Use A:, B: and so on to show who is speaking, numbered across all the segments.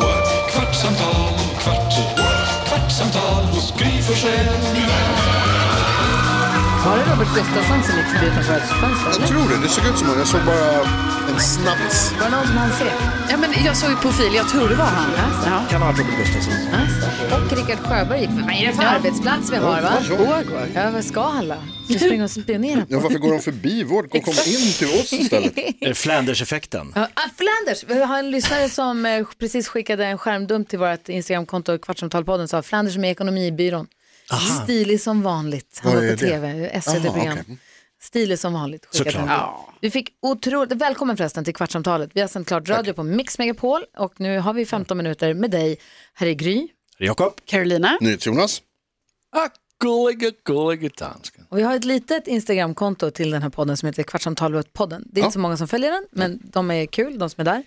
A: what? kvartsamtal, kvart, what? kvartsamtal hos Gry Forssell med vänner.
B: Var det Robert Gustafsson som gick förbi utanför fönstret?
C: Jag
B: eller?
C: tror det. Det såg ut som hon. Jag såg bara en snaps.
B: Var det någon som han ser? Ja, men jag såg ju profil. Jag tror det var han. Alltså. Ja.
D: Kan ha varit Robert Gustafsson.
B: Alltså. Och Rickard Sjöberg gick förbi. Vad är det för arbetsplats vi har? va? Vårgård. Ja, vad ska alla? Ska springa och spionera
C: Ja,
B: på?
C: varför går de förbi vårt? De kommer in till oss istället.
D: Eh, Flanders-effekten.
B: Ja, ah, Flanders! Vi har en lyssnare som eh, precis skickade en skärmdump till vårt Instagramkonto, Kvartsamtalpodden, sa Flanders med ekonomibyrån. Stilig som vanligt. Han
C: Vad
B: var
C: är
B: på
C: det?
B: tv, SVT-program.
C: Aha, okej.
B: Stilig som vanligt. skickade
D: Såklart.
B: han. Vi fick otroligt, välkommen förresten till Kvartsamtalet. Vi har sänt klart radio på Mix Megapol och nu har vi 15 minuter med dig. Här är Gry.
D: Jakob.
E: Carolina.
C: NyhetsJonas.
D: Gullige, gullige dansken.
B: Och vi har ett litet Instagramkonto till den här podden som heter Kvartsamtalet-podden. Det är inte så många som följer den, men de är kul, de som är där.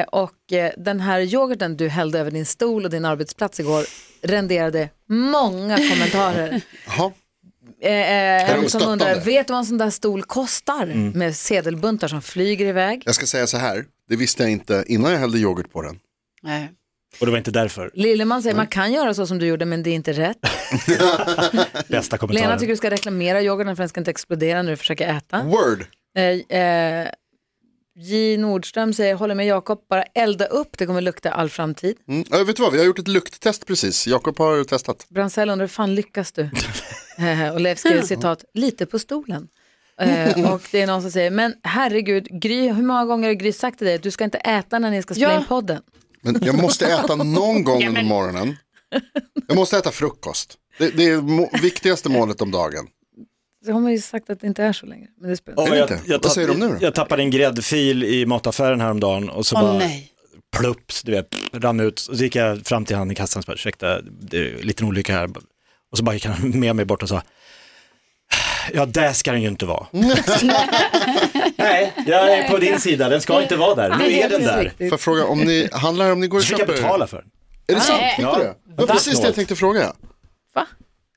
B: Eh, och eh, den här yoghurten du hällde över din stol och din arbetsplats igår renderade många kommentarer.
C: Jaha.
B: Eh, eh, en som
C: stöttande?
B: undrar, vet du vad en sån där stol kostar? Med sedelbuntar som flyger iväg.
C: Jag ska säga så här. Det visste jag inte innan jag hällde yoghurt på den.
E: Nej.
D: Och det var inte därför.
B: Lillemans säger, man kan göra så som du gjorde, men det är inte rätt.
D: Bästa kommentaren.
B: Lena tycker du ska reklamera yoghurten för den ska inte explodera när du försöker äta.
C: Word.
B: Eh, eh, J Nordström säger, håller med Jakob, bara elda upp, det kommer lukta all framtid.
C: Mm. Ja, vet du vad, vi har gjort ett lukttest precis. Jakob har testat.
B: Bransell undrar, hur fan lyckas du? Eh, och Leif skriver citat, lite på stolen. Eh, och det är någon som säger, men herregud, Gry, hur många gånger har Gry sagt till dig att du ska inte äta när ni ska spela
E: Ja.
B: in podden?
C: Men jag måste äta någon gång under morgonen. Jag måste äta frukost. Det, det är må- viktigaste målet om dagen.
B: Så har man ju sagt att det inte är så länge. Men det spelar.
D: Åh,
C: Är det inte? Vad
D: tapp-
C: säger de nu då?
D: Jag tappade en gräddfil i mataffären häromdagen och så
E: Åh
D: bara
E: nej.
D: plupps, du vet, rann ut. Och så gick jag fram till han i kassan och bara, ursäkta, det är en liten olycka här. Och så bara gick han med mig bort och sa, ja där ska den ju inte vara. Nej, jag är på din sida, den ska inte vara där. Nu är den där.
C: Får jag fråga om ni handlar, om ni går och
D: Så fick jag
C: köper?
D: betala för den.
C: Är det sant? Fick
D: Ja.
C: du det? Det var precis det jag tänkte fråga.
B: Va?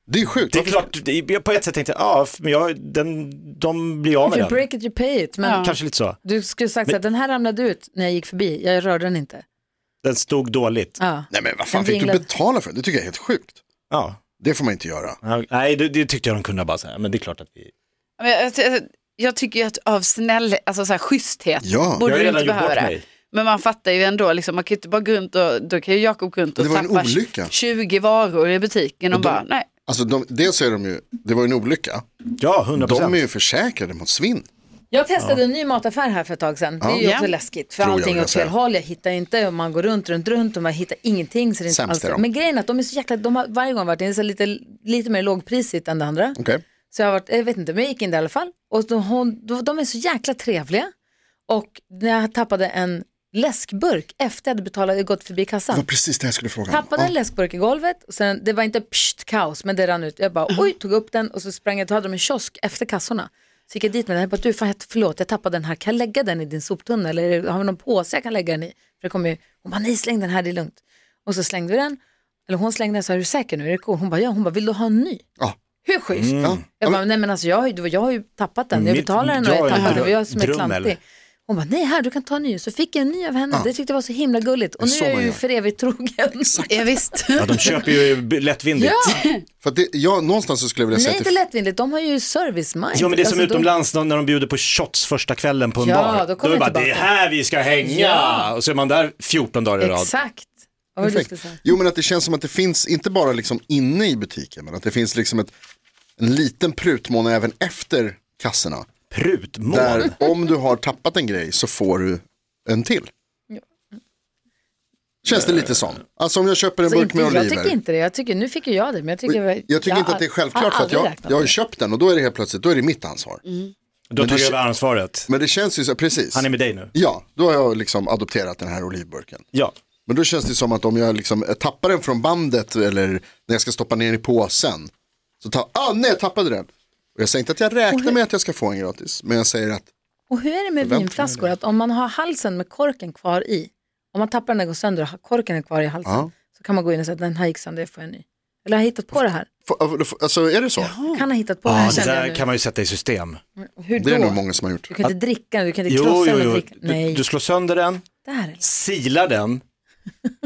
C: Det är sjukt.
D: Det är klart, det är- på ett sätt tänkte jag, ja, men jag, den, de blir av
B: If
D: med
B: you
D: den.
B: break it you pay it. Men
E: Ja.
D: Kanske lite så.
B: du skulle sagt så här, den här ramlade ut när jag gick förbi, jag rörde den inte.
D: Den stod dåligt.
B: Ja.
C: Nej men vad fan
B: Den
C: fick du
B: vinglade.
C: betala för? Det tycker jag är helt sjukt.
D: Ja.
C: Det får man inte göra.
D: Nej, det, det tyckte jag de kunde bara säga, men det är klart att vi...
E: Men jag, jag, jag tycker ju att av snäll, alltså så här schyssthet,
C: Ja.
D: Jag
E: borde
D: har
E: du
D: redan
E: inte
D: gjort
E: behöva
D: bort
E: det.
D: mig.
E: Men man fattar ju ändå, liksom, man kan ju inte bara gå runt och, då kan ju Jakob gå runt och
C: Det var en
E: tappa
C: olycka.
E: 20 varor i butiken och, bara, nej.
C: Alltså de, dels är de ju, det var ju en olycka,
D: Ja, 100
C: de är
D: procent.
C: ju försäkrade mot svinn.
B: Jag testade en ny mataffär här för ett tag sedan. Det är ju
E: Ja.
B: också läskigt för
C: Tror jag
B: allting
C: jag
B: åt fel
C: säger.
B: håll. Jag hittar inte och man går runt, runt, runt och man hittar ingenting. Så det är inte
C: Sämst
B: alls...
C: är de.
B: Men grejen är att de är så jäkla, de har varje gång varit det är så lite, lite mer lågprisigt än det andra.
C: Okej.
B: Så jag har varit, jag vet inte, men jag gick in där i alla fall. Och de, hon, de, de är så jäkla trevliga. Och när jag tappade en läskburk efter jag hade betalat, gått förbi
C: Det var
B: kassan.
C: precis det jag skulle fråga. om.
B: Tappade en läskburk i golvet, och sen, det var inte pst, kaos, men det rann ut. Jag bara oj, tog upp den och så sprang jag, då hade de en kiosk efter kassorna. Så gick jag dit med den, jag bara du fan, förlåt jag tappade den här, kan jag lägga den i din soptunna eller är det- har vi någon påse jag kan lägga den i? För det kommer ju, hon bara nej släng den här, det är lugnt. Och så slängde vi den, eller hon slängde den så här, är du säker nu, är det cool? Hon bara ja, hon bara vill du ha en ny?
C: Ja.
B: Hur schysst?
C: Mm. Ja.
B: Jag bara, nej men alltså jag, har ju- jag har ju tappat den, jag
D: Mitt-
B: betalar den och
D: jag
B: jag
D: är
B: tappade den, och jag
D: drö-
B: som är
D: drummel.
B: klantig. Hon bara, nej här du kan ta en ny. Så fick jag en ny av henne, det tyckte jag var så himla gulligt. Och nu
C: så
B: är jag
C: man
B: ju
C: gör.
B: för evigt trogen.
E: Ja, visst.
D: Ja, de köper ju b- lättvindigt.
C: För att det, jag, någonstans så skulle jag vilja säga
B: Nej,
C: att
B: inte
C: det,
B: lättvindigt. De har ju service mind.
D: Ja, men det är som
B: Alltså, de-
D: utomlands då, när de bjuder på shots första kvällen på en
B: Ja,
D: bar.
B: då kommer
D: är det bara,
B: jag
D: det är
B: tillbaka.
D: här vi ska hänga!
B: Ja.
D: Och så är man där 14 dagar i rad.
B: Exakt. Vad var det du skulle säga?
C: perfekt. Jo men att det känns som att det finns, inte bara liksom inne i butiken, men att det finns liksom ett, en liten prutmåne även efter kassorna.
D: Prutmål.
C: Där om du har tappat en grej så får du en till. Känns det lite som. Alltså om jag köper en
B: Så
C: burk
B: inte,
C: med
B: jag
C: oliver.
B: tycker inte det. Jag tycker, nu fick ju jag det, men jag tycker...
C: Jag, tycker inte att det är självklart för att jag, jag har ju köpt den och då är det helt plötsligt, då är det mitt ansvar.
D: Då tar
C: du
D: du
C: kö-
D: över ansvaret.
C: Men det känns ju så, precis.
D: Han är med dig nu.
C: Ja, då har jag liksom adopterat den här olivburken.
D: Ja.
C: Men då känns det som att om jag liksom tappar den från bandet eller när jag ska stoppa ner den i påsen. Så tar, ah nej jag tappade den. Och jag säger inte att jag räknar med att jag ska få en gratis. Men jag säger att
B: Och hur är det med
C: Förväntar mig
B: vinflaskor? Att om man har halsen med korken kvar i, om man tappar den och går sönder och har- korken är kvar i halsen,
C: Ja.
B: så kan man gå in och säga att den här gick sönder, jag får en ny. Eller har jag hittat på det här?
C: "F- alltså är det så?
B: Jag kan ha hittat på det
D: Ja,
B: här
D: det
B: kände jag
D: där
B: nu.
D: kan man ju sätta i system.
B: Hur
C: Det är nog
B: då?
C: många som har gjort.
B: Du kan inte dricka den, du kan inte
D: Jo,
B: krossa
D: jo,
B: den och
D: jo.
B: dricka.
D: Du,
B: Nej,
D: du slår sönder den,
B: där.
D: silar den,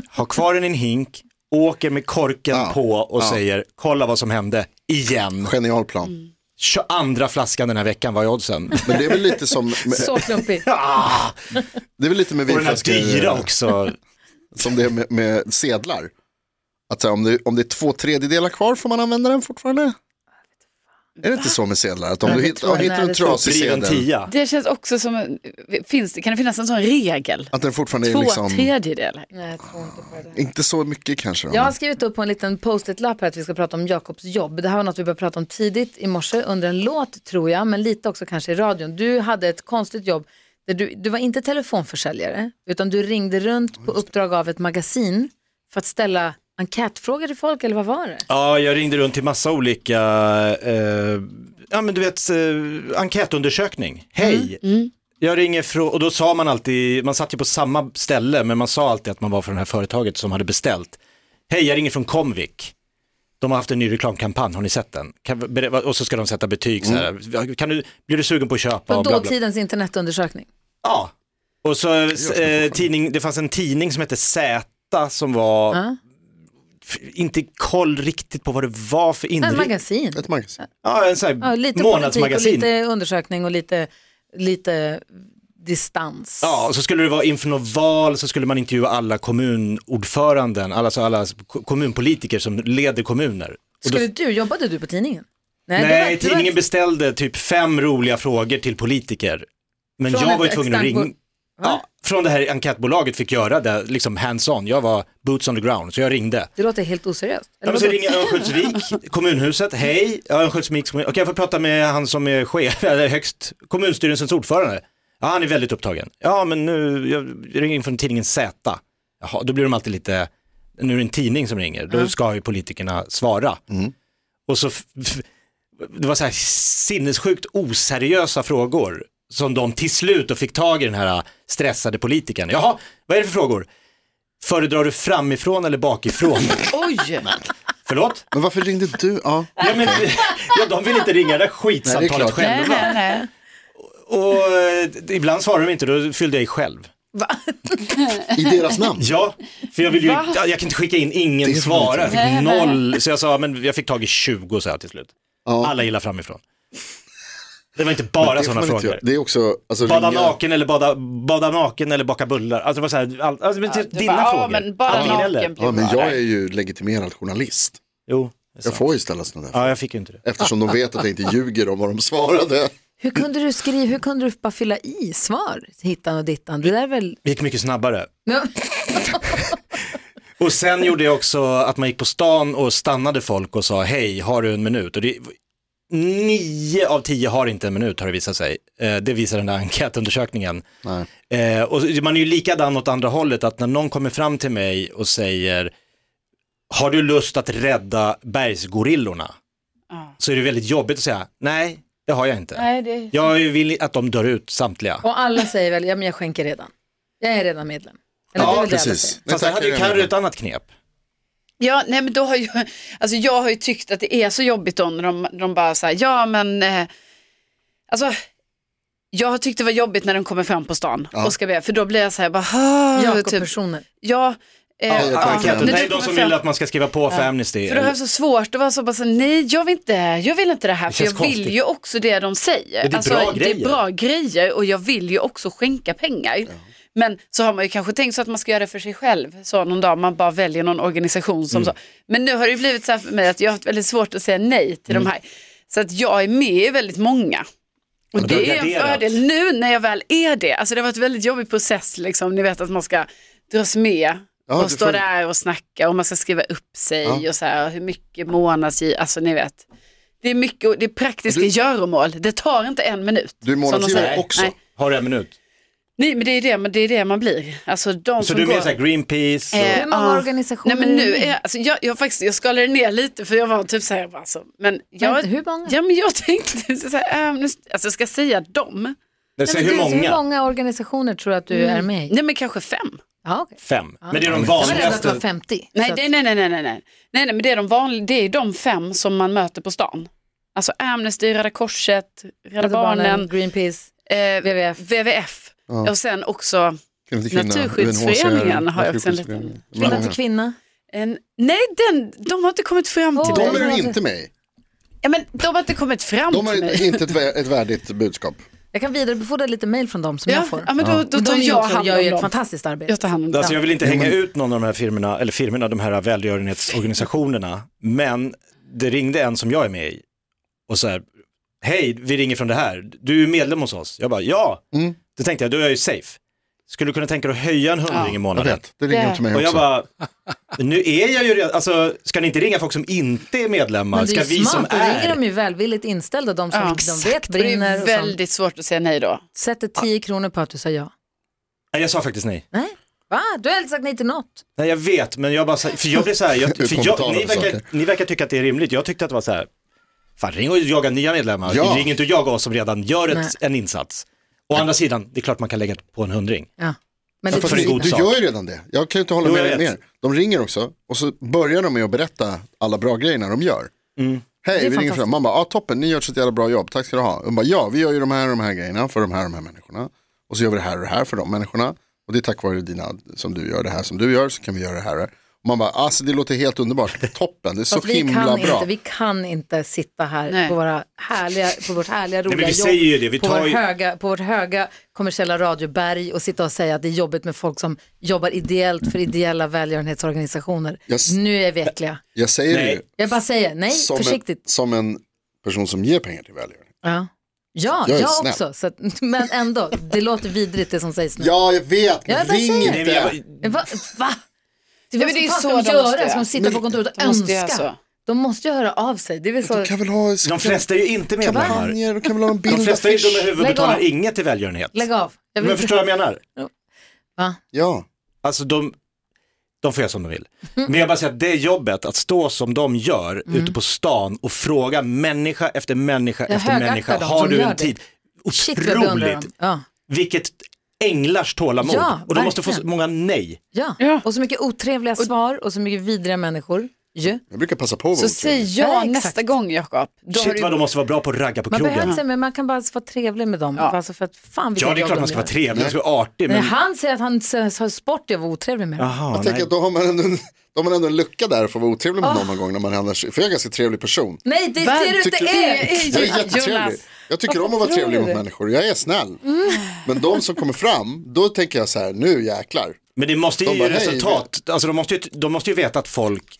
D: har kvar den i en hink, åker med korken
C: Ja,
D: på och
C: ja.
D: säger kolla vad som hände igen.
C: Genial plan.
D: 22 flaskan den här veckan var jag oddsen.
C: Men det är väl lite som med,
B: Så klumpig.
D: Ah,
C: det är väl lite med
D: och den här
C: vinflaskor.
D: dyra också.
C: Som det är med, med sedlar. Att så här, om, det, om det är två tredjedelar kvar får man använda den fortfarande? Är det inte så med sedlar? Att om du hittar, om du hittar
B: Nej,
C: en
B: det
C: trasig
D: Driven
C: sedel,
D: tia.
E: Det känns också som, en- finns, det- kan det finnas en sån regel?
C: att den fortfarande
E: Två
C: är liksom,
E: tredjedelar.
B: Nej, jag tror inte på det.
C: inte så mycket kanske. Då.
B: Jag har skrivit upp på en liten post-it-lapp här att vi ska prata om Jakobs jobb. Det här var något vi började prata om tidigt i morse under en låt tror jag, men lite också kanske i radion. Du hade ett konstigt jobb. Där du, du var inte telefonförsäljare, utan du ringde runt på uppdrag av ett magasin för att ställa enkätfrågor till folk, eller vad var det?
D: Ja, jag ringde runt till massa olika, eh, ja men du vet, eh, enkätundersökning. Hej! Jag ringer från, och då sa man alltid, man satt ju på samma ställe, men man sa alltid att man var från det här företaget som hade beställt. Hej, jag ringer från Comvik. De har haft en ny reklamkampanj, har ni sett den? Kan, ber- och så ska de sätta betyg så här. Kan du, blir du sugen på att köpa?
B: På
D: Och bla, bla.
B: dåtidens internetundersökning.
D: Ja, och så eh, tidning, det fanns en tidning som hette Z som var,
B: Ja.
D: f- inte koll riktigt på vad det var för
B: Nej,
D: inriktning.
B: magasin.
C: Ett magasin.
D: Ja, en sån
B: Ja,
D: här
B: lite politik och
D: månadsmagasin.
B: lite undersökning och lite, lite distans.
D: Ja, och så skulle det vara inför något val så skulle man intervjua alla kommunordföranden, alla- alltså alla ko- kommunpolitiker som leder kommuner. Och då,
B: Skulle du, jobbade du på tidningen? Nej, det var- det
D: nej,
B: var-
D: tidningen beställde typ fem roliga frågor till politiker. Men
B: Från
D: jag var ju
B: ett
D: tvungen att
B: externt
D: ringa. Ja, från det här enkätbolaget fick göra det, liksom hands-on. Jag var boots on the ground, så jag ringde.
B: Det låter helt oseriöst.
D: Ja, men så ringer jag Örnsköldsvik, kommunhuset, hej, ja, Örnsköldsviks kommun, okej jag får prata med han som är chef, eller högst, kommunstyrelsens ordförande. Ja, han är väldigt upptagen. Ja, men nu, jag ringer in från tidningen Z. Jaha, då blir de alltid lite, nu är det en tidning som ringer, då ska ju politikerna svara. Och så, f- f- det var så här sinnessjukt oseriösa frågor som de till slut då fick tag i den här stressade politikern. Jaha, vad är det för frågor? Föredrar du framifrån eller bakifrån?
E: Oj!
D: Förlåt?
C: Men varför ringde du? Ja.
D: Ja, men, ja, de vill inte ringa det där skitsamtalet
C: Nej, det är klart.
E: Nej,
D: själva.
E: nej, nej.
D: Och eh, ibland svarar de inte, då fyllde jag i själv.
C: I deras namn.
D: Ja, för jag vill ju, ja, jag kan inte skicka in ingen
C: Det är
D: svarar. Jag
C: inte-
D: fick noll, så jag sa, men jag fick tag i 20 så här till slut. Alla gillar framifrån. Det var inte bara
C: Det får
D: sådana
C: man inte
D: frågor.
C: göra. Det är också, alltså,
D: Bada
C: ringa-
D: naken eller bada, bada naken eller baka bullar. Alltså det var så här, all, alltså, men, typ
E: Du
D: dina
E: bara, ja,
D: frågor.
E: men bara
D: Antingen
E: naken
D: eller.
E: blir
C: Ja, men
E: bra.
C: jag är ju legitimerad journalist.
D: Jo, det är
C: Jag
D: sant.
C: får ju ställa sådana där.
D: Ja, jag fick ju inte det.
C: Eftersom de vet att jag inte ljuger om vad de svarade.
B: Hur kunde du skriva, hur kunde du bara fylla i svar, hittan och dittan? Du lär väl...
D: Det gick mycket snabbare.
B: Ja.
D: Och sen gjorde jag också att man gick på stan och stannade folk och sa hej, har du en minut? Och det, nio av tio har inte en minut har det visat sig. Eh, det visar den där enkätundersökningen. Eh, och så- man är ju likadan åt andra hållet, att när någon kommer fram till mig och säger har du lust att rädda bergsgorillorna? Så är det väldigt jobbigt att säga nej, det har jag inte.
E: Nej, det är...
D: Jag vill att de dör ut samtliga.
B: Och alla säger väl, ja men jag skänker redan. Jag är redan medlem. Eller
D: Ja,
B: det är väl det alla
C: Precis.
B: säger.
D: Fast där hade ju Carro ett annat knep.
E: Ja, nej men då har ju, alltså jag har ju tyckt att det är så jobbigt då när de, när de bara så här, ja men, eh, alltså jag har tyckt det var jobbigt när de kommer fram på stan och ska be, för då blir jag så här, bara, "Ah", typ,
B: Jakob-personer.
E: ja, eh,
C: jag tänker
E: ja,
C: det.
E: när
D: Enkäten,
E: du
D: det är de
E: kommer
D: som
E: fram-
D: vill att man ska skriva på för Amnesty.
E: För då har jag så svårt att vara så bara så här, nej jag vill inte, jag vill inte det här,
D: Det
E: för jag
D: känns
E: vill
D: konstigt.
E: ju också det de säger. Alltså,
D: Men det är bra grejer.
E: Det är bra grejer och jag vill ju också skänka pengar. Men så har man ju kanske tänkt så att man ska göra det för sig själv, så någon dag man bara väljer någon organisation
D: Mm.
E: som så. Men nu har det ju blivit så här för mig att jag har haft väldigt svårt att säga nej till
D: Mm.
E: de här. Så att jag är med i väldigt många. Och
D: du har
E: det är en
D: garderat.
E: fördel nu när jag väl är det. Alltså det har varit en väldigt jobbig process, liksom. ni vet att man ska dras med
C: Ja,
E: och
C: du
E: stå
C: får-
E: där och snacka och man ska skriva upp sig
C: Ja.
E: och så här, hur mycket månadsgiv, alltså ni vet. Det är mycket, och det är praktiska göromål, det tar inte en minut.
C: Du är
E: som de
C: månadsgivare
E: säger.
C: också.
E: Nej.
D: Har du en minut?
E: Nej, men det är det, men det, är det man blir. Alltså de
D: Så
E: som
D: du är
E: går...
D: med så här Greenpeace? Och...
E: Eh,
B: Hur många
E: ja.
B: organisationer
E: Nej men nu
B: är
E: är
B: det?
E: jag, alltså, jag, jag, faktiskt, jag skalade ner lite för jag var typ så här, jag bara, alltså, men jag,
B: Vänta, hur många?
E: Ja men jag tänkte så här, eh, nu, alltså jag ska säga dem,
D: Nej, så
B: Men
D: hur
B: du,
D: många?
B: hur många organisationer tror du att du är med i?
E: Mm. nej men kanske fem.
B: Ja, Alltså, okay.
D: Fem. Men det är de
B: Jag var rädd att det var
D: vanligaste.
B: 50.
E: Nej,
B: så att-
E: det, nej, nej, nej, nej, nej, nej, nej, men det är de vanliga, det är de fem som man möter på stan. Alltså Amnesty, Röda Korset, Rädda
B: Rädda
E: Barnen,
B: Greenpeace.
E: eh,
B: WWF.
E: WWF. och sen också
C: Kvinna till kvinna,
E: Naturskyddsföreningen
C: UNHCR,
E: har jag också en
C: Naturskyddsföreningen. De här
E: liten-
B: Kvinna
C: många.
B: till kvinna.
E: en, nej den, de har inte kommit fram till
B: Åh.
E: mig.
C: De är du inte med i.
E: Ja, men de har inte kommit fram
C: De
E: till
C: har
E: mig.
C: inte ett, vä- ett värdigt budskap.
B: Jag kan vidarebefordra lite mejl från dem som
E: Ja,
B: jag får.
E: ja men då, då
B: Och
E: tar
B: de
E: jag
B: också
E: hand
B: gör ju
E: om
B: ett
E: dem.
B: fantastiskt arbete.
E: Jag tar hand om dem.
D: Alltså jag vill inte hänga ut någon av de här firmorna, eller firmorna, de här välgörenhetsorganisationerna, men det ringde en som jag är med i och så här, hej, vi ringer från det här, du är medlem hos oss. Jag bara, ja, då tänkte jag, då är jag ju safe. Skulle du kunna tänka dig att höja en hundring i
C: Jag
D: månaden?
C: vet, det ringer
E: Det-
C: de till mig
D: Och
C: också.
D: jag bara, nu är jag ju redan, alltså ska ni inte ringa folk som inte är medlemmar?
B: Men det
D: Ska
B: är
D: vi
B: ju
D: som
B: smart, då ringer
D: är?
B: de ju välvilligt inställda, de som
E: Ja,
B: de vet brinner
E: Det är
B: och som
E: väldigt svårt att säga nej då.
B: sätter 10 kronor på att du sa ja.
D: Nej, jag sa faktiskt nej.
B: Nej, va? Du har aldrig sagt nej till något.
D: Nej jag vet, men jag bara, så- för jag blev så här, jag, för
C: Utan
D: jag,
C: betala
D: ni,
C: för
D: verkar,
C: saker.
D: ni verkar tycka att det är rimligt, jag tyckte att det var så här, fan ring och jaga nya medlemmar,
C: Ja.
D: ring inte och jaga oss som redan gör
B: Nej.
D: ett, en insats. Å andra sidan, det är klart man kan lägga på en hundring.
B: Ja. Men
C: Ja,
B: det
C: fast
D: för en
C: du,
D: god
C: du
D: sak.
C: gör ju redan det. Jag kan ju inte hålla
D: Jo,
C: med
D: jag
C: dig
D: vet.
C: mer. De ringer också och så börjar de med att berätta alla bra grejerna de gör.
D: Mm.
B: Det
C: Hej,
B: är
C: vi ringer från
B: fantastiskt.
C: Man bara, ja toppen, ni gör ett så jävla bra jobb, tack ska du ha. De bara, ja, vi gör ju de här och de här grejerna för de här och de här människorna. Och så gör vi det här och det här för de människorna. Och det är tack vare dina, som du gör det här som du gör, så kan vi göra det här. Och man bara, alltså det låter helt underbart, toppen, det är så
B: Fast vi kan,
C: himla bra.
B: inte, vi kan inte sitta här
E: Nej.
B: på, våra härliga, på vårt härliga roliga
D: men vi
B: jobb,
D: säger ju det, vi
B: på,
D: tar
B: vår
D: ju-
B: höga, på vårt höga kommersiella radioberg och sitta och säga att det är jobbigt med folk som jobbar ideellt för ideella välgörenhetsorganisationer.
C: Yes.
B: Nu är vi äckliga.
C: Jag säger
D: Nej.
C: det
B: Jag bara säger nej,
C: ju som en,
B: försiktigt.
C: som en person som ger pengar till välgörenhet.
B: Ja, ja jag,
C: Jag är snäll.
B: också. Så att, men ändå, det låter vidrigt det som sägs nu.
C: Ja, jag vet, men
B: Ja, vad
C: ring
B: säger
C: inte.
B: jag?
D: Nej, men jag,
B: Men Va? va? Det,
E: men det är så
B: ska de
E: de måste
B: göra,
E: göra.
B: ska de sitta på
C: Men-
B: kontoret och
E: de måste alltså- göra
B: önska?
E: så.
B: De måste ju höra av sig. Det är väl så...
C: De kan väl ha
D: de flesta är ju inte medlemmar.
C: kampanjer, de kan väl ha en bild
D: De flesta är ju dumma i huvudet och
B: Lägg
D: betalar
B: av.
D: inget till välgörenhet.
B: Lägg av. Jag vill
D: Men
B: inte-
D: förstår vad jag menar?
B: Va?
C: Ja,
D: Alltså de, de får göra som de vill. Men jag bara säger att det jobbet, att stå som de gör ute på stan och fråga människa efter människa
B: Mm. Jag
D: efter
B: högaktar
D: människa,
B: dem
D: har
B: som
D: du
B: gör
D: en
B: det.
D: tid?
B: Shit, vad jag beundrar
D: Otroligt,
B: dem. Ja.
D: vilket änglars tålamod.
B: Ja,
D: och de måste få så
B: verkligen.
D: många nej.
B: Ja.
E: Ja.
B: och så mycket otrevliga svar och så mycket vidriga människor. Ju.
C: jag brukar passa på att
E: Så
C: vara
E: säg
C: otrevlig.
E: ja
B: Ja, exakt.
E: nästa gång Jakob. Då har
D: Shit
E: du-
D: vad de måste vara bra på att ragga på
B: Man behöver
D: krogen.
B: inte säga, men man kan bara vara trevlig med dem.
E: Ja.
B: Alltså för att, fan vilket
D: Ja det är
B: jobb
D: klart
B: de
D: man ska
B: gör.
D: vara trevlig, man ska vara
B: Nej,
D: artig. Men...
B: han säger att han har sport jag var otrevlig med.
D: Jaha,
C: Jag
D: nej.
C: tänker att då har man ändå en, då har man ändå en lucka där för att vara otrevlig med någon någon gång. När man annars, för jag är en ganska trevlig person.
B: Nej, det
E: Vad
B: ser du inte
C: tycker
B: är.
E: du?
C: Jag är
E: Jonas,
C: jättetrevlig. Jag tycker om att
B: varför
C: vara
B: tror
C: trevlig
B: du
C: mot
B: det?
C: människor, jag är snäll. Men de som kommer fram, då tänker jag så här, nu jäklar.
D: Men det måste ju
C: De
D: ge
C: bara, "Hej,
D: resultat, alltså de måste ju, de måste ju veta att folk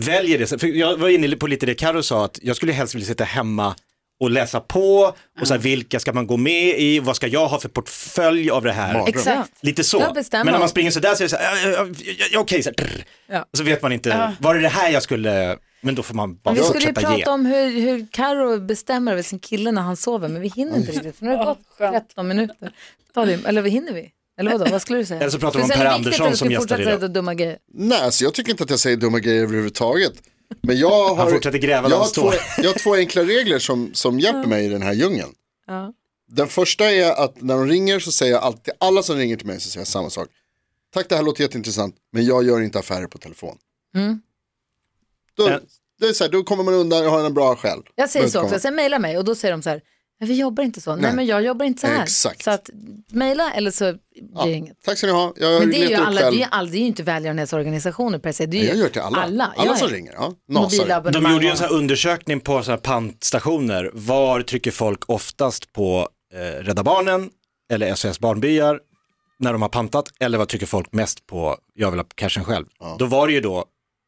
D: väljer det. För jag var inne på lite det Karo sa, att jag skulle helst vilja sitta hemma och läsa på, och så här, vilka ska man gå med i, vad ska jag ha för portfölj av det här?
C: Mardröm.
E: Exakt.
D: Lite så.
B: Jag
D: Men
B: bestämmer.
D: när man springer sådär så är det så här, "Äh, äh, äh, äh, okej, så, här, drr."
B: Ja.
D: Och så vet man inte, var det det här jag skulle, men då får man bara
B: Vi skulle ju
D: fortsätta ge.
B: prata om hur, hur Karo bestämmer över sin kille när han sover, men vi hinner inte riktigt för nu har det gått 13 minuter. Ta det, eller vad hinner vi? Eller vadå, vad skulle du säga?
D: Eller så pratar
B: Skulle
D: vi om
B: du säga
D: Per
B: något viktigt
D: Andersson
B: eller
D: som
B: ska vi
D: gästar
B: fortsätta
D: idag?
B: säga dumma grejer.
C: Nej, så jag tycker inte att jag säger dumma grejer överhuvudtaget. Men jag har,
D: fortsätter gräva där
C: jag
D: han
C: har, två,
D: står.
C: jag har två enkla regler som, som hjälper mig i den här djungeln.
B: Ja.
C: Den första är att när de ringer så säger jag alltid, alla som ringer till mig så säger jag samma sak. Tack det här låter jätteintressant men jag gör inte affärer på telefon.
B: Mm.
D: Ja.
C: Då, det är så här, då kommer man undan och har en bra själ.
B: Jag säger
C: Men
B: så
C: kommer-
B: också, sen mejlar mig och då säger de så här, "Nej, vi jobbar inte så, nej,
C: Nej.
B: men jag jobbar inte så här.
C: Exakt.
B: Så att mejla eller så blir
C: Ja,
B: det inget.
C: Tack ska ni ha, jag
B: Men det är ju,
C: letar upp
B: alla,
C: själv.
B: det är, all, det är ju inte välgörenhetsorganisationer per se, det är ju
C: jag gör till alla.
B: alla,
C: alla
B: Ja,
C: som
B: ja.
C: ringer. Ja. Nasar.
B: Mobilabonnemang.
D: De gjorde ju en sån här undersökning på såna här pantstationer. Var trycker folk oftast på eh, Rädda Barnen eller SOS Barnbyar när de har pantat? Eller vad trycker folk mest på Jag vill ha cashen själv? Då var det ju då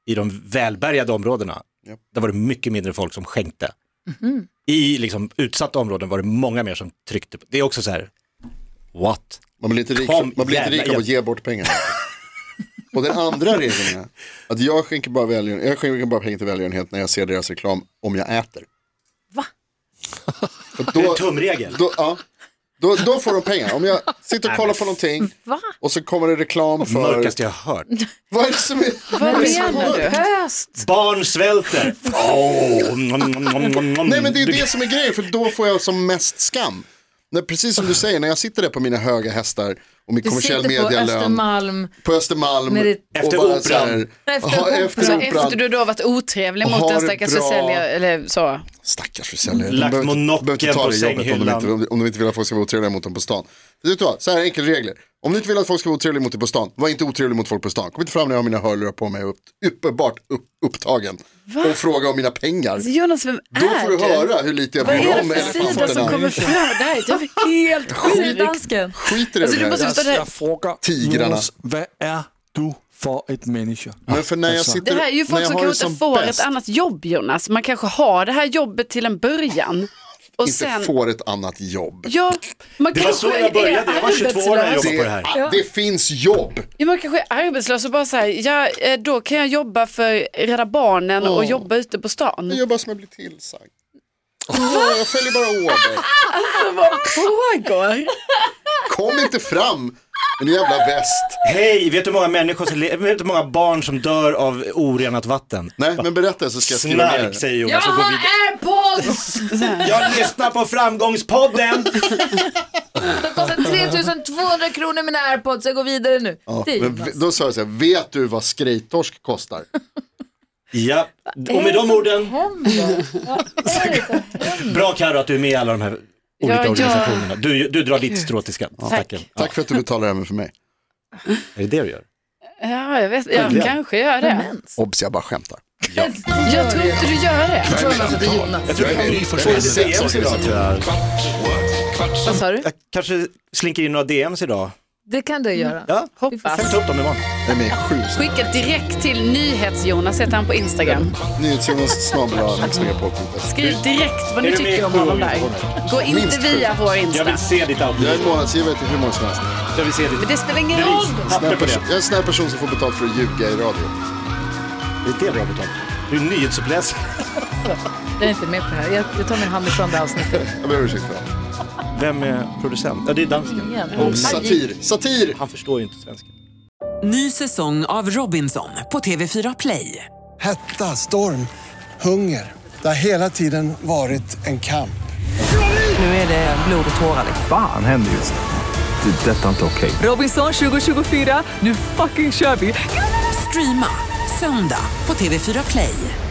D: i de välbärgade områdena,
C: Ja.
D: där var det mycket mindre folk som skänkte. I liksom utsatta områden var det många mer som tryckte på. Det är också så här, what?
C: Man blir inte rik,
D: Kom,
C: man blir inte rik
D: jävla-
C: av att ge bort pengar. och den andra regeln är att jag skänker bara, välgören, jag skänker bara pengar till välgörenhet när jag ser deras reklam om jag äter.
B: Va?
C: För
D: Det är
C: då,
D: en tumregel.
C: då, ja, Då, då får de pengar. Om jag sitter och kollar på någonting
B: Va?
C: och så kommer det reklam för...
D: Mörkaste jag har hört.
C: Vad är det som är...
B: Vad
E: är
B: menar
E: det?
B: du? Höst!
D: Barn svälter. Åh, nom, nom, nom, nom, nom.
C: Nej men det är
D: Du-
C: det som är grejen, för då får jag som mest skam. När, precis som du säger, när jag sitter där på mina höga hästar och min
B: Du
C: kommersiell
B: sitter på
C: medialön på,
B: Östermalm.
C: Östermalm.
B: När det-
D: Efter
C: och bara
D: operan.
C: så här-
B: Efter
C: Ja, efter
E: Så
C: operan.
E: Alltså, efter du då varit otrevlig
C: Har
E: mot den
C: det
E: stackars
C: bra.
E: försäljare eller så.
C: Stackars försäljare.
D: Lagt monokeln på
C: om de,
D: sänghyllan.
C: inte, om de- om de inte vill att folk ska vara otrevliga mot dem på stan. Vet du vad, så här enkla regler. Om ni inte vill att folk ska vara otrevliga mot dig på stan, var inte otrevlig mot folk på stan. Kom inte fram när jag har mina hörlurar på mig och upp- uppenbart upp, upptagen. Och fråga om mina pengar.
E: Alltså, Jonas, vem
C: Då
E: är
C: får du
E: du?
C: höra hur lite jag
E: Vad
C: bryr mig
E: är
C: om
E: det för sida som
C: elefanterna.
E: kommer fram? Det här är typ helt sjukt.
B: Dansken.
C: Skit i det
E: Alltså, du
C: med
E: måste
C: det här.
E: förstå det här.
F: frågar
C: Tigrarna.
F: Jonas, vad är du för ett människa? Alltså.
C: Men för när jag
E: Det
C: sitter,
E: här är ju
C: när
E: folk
C: jag
E: som
C: har det
E: kanske
C: som
E: inte får
C: bäst,
E: ett annat jobb Jonas. Man kanske har det här jobbet till en början. Och
C: inte
E: sen,
C: får ett annat jobb.
E: ja, man
D: Det var
E: kanske
D: så jag började.
E: är
D: Jag var 22 när jag
E: arbetslös.
D: jobbade på det här.
C: Det, det finns jobb.
E: Ja, man kanske är arbetslös och bara säger, ja eh, då kan jag jobba för Rädda Barnen och jobba ute på
C: Jag
E: stan.
C: gör bara som jag blir tillsagd. Åh, jag följer bara order.
E: Alltså, Vad pågår?
C: Kom inte fram med din jävla väst.
D: Hej, vet du hur många människor som le- vet du hur många barn som dör av orenat vatten?
C: Nej, men berätta så ska jag skriva
D: Snark
C: ner.
D: säger Jonas och går vidare.
B: airpods!
D: Jag lyssnar på framgångspodden.
B: Det kostar 3200 kronor mina airpods, jag går vidare nu.
C: Ja,
B: det är
C: men
B: Jonas.
C: v- då sa jag så här, vet du vad skrejtorsk kostar?
D: Ja, och med de orden,
B: Händer.
D: bra Carro att du är med i alla de här olika
E: Ja, ja.
D: organisationerna. Du, du drar ditt strå till skatt. Tacken. Ja,
C: Tack för att du betalar även för mig.
D: är det det du gör?
E: Ja, jag vet, jag kanske gör det.
C: Obs, jag bara skämtar.
E: Jag tror inte du gör det.
D: Jag tror
C: Jag är-
D: jag
A: Gry
C: jag är
A: Forssell med
C: sex
A: vänner.
C: år
D: jag tror jag.
A: Kvart, what?
E: Vad
A: kvartsamtal,
E: sa du?
D: Jag kanske slinker in några DMs idag.
B: Det kan du göra.
D: Ja,
E: Hoppas.
D: jag tar upp dem imorgon.
C: Jag är med i sju. så-
E: Skicka direkt till NyhetsJonas heter han på Instagram.
C: Nyhetsjonas snabel-a mixmegapol.se.
E: Skriv direkt vad ni
D: Är du med i
E: tycker om
D: sju
E: honom där.
D: organisationer?
E: Gå inte
C: Minst sju.
E: via vår
D: Jag
E: Insta.
D: vill se ditt
C: Jag
D: outfit.
C: är månadsgivare till hur många som helst.
D: Jag vill se ditt
E: Men det spelar ingen roll.
D: bevis.
C: Snäll
D: Papper på
C: person-
D: det.
C: Jag är en snäll person som får betalt för att ljuga i radio.
D: Det är det bra betalt. Du är nyhetsuppläsare.
B: Jag är inte med på det här. Jag, jag tar min hand ifrån det här avsnittet.
C: Jag ber om ursäkt för det.
D: Vem är producent? Ja, det är dansken.
C: Och satir. Satir!
D: Han förstår ju inte svenska.
G: Ny säsong av Robinson på TV4 Play.
H: Hetta, storm, hunger. Det har hela tiden varit en kamp.
G: Nu är det blod och tårar.
I: Fan händer just det. Det är detta inte okej.
G: Robinson 2024, nu fucking kör vi! Streama söndag på TV4 Play.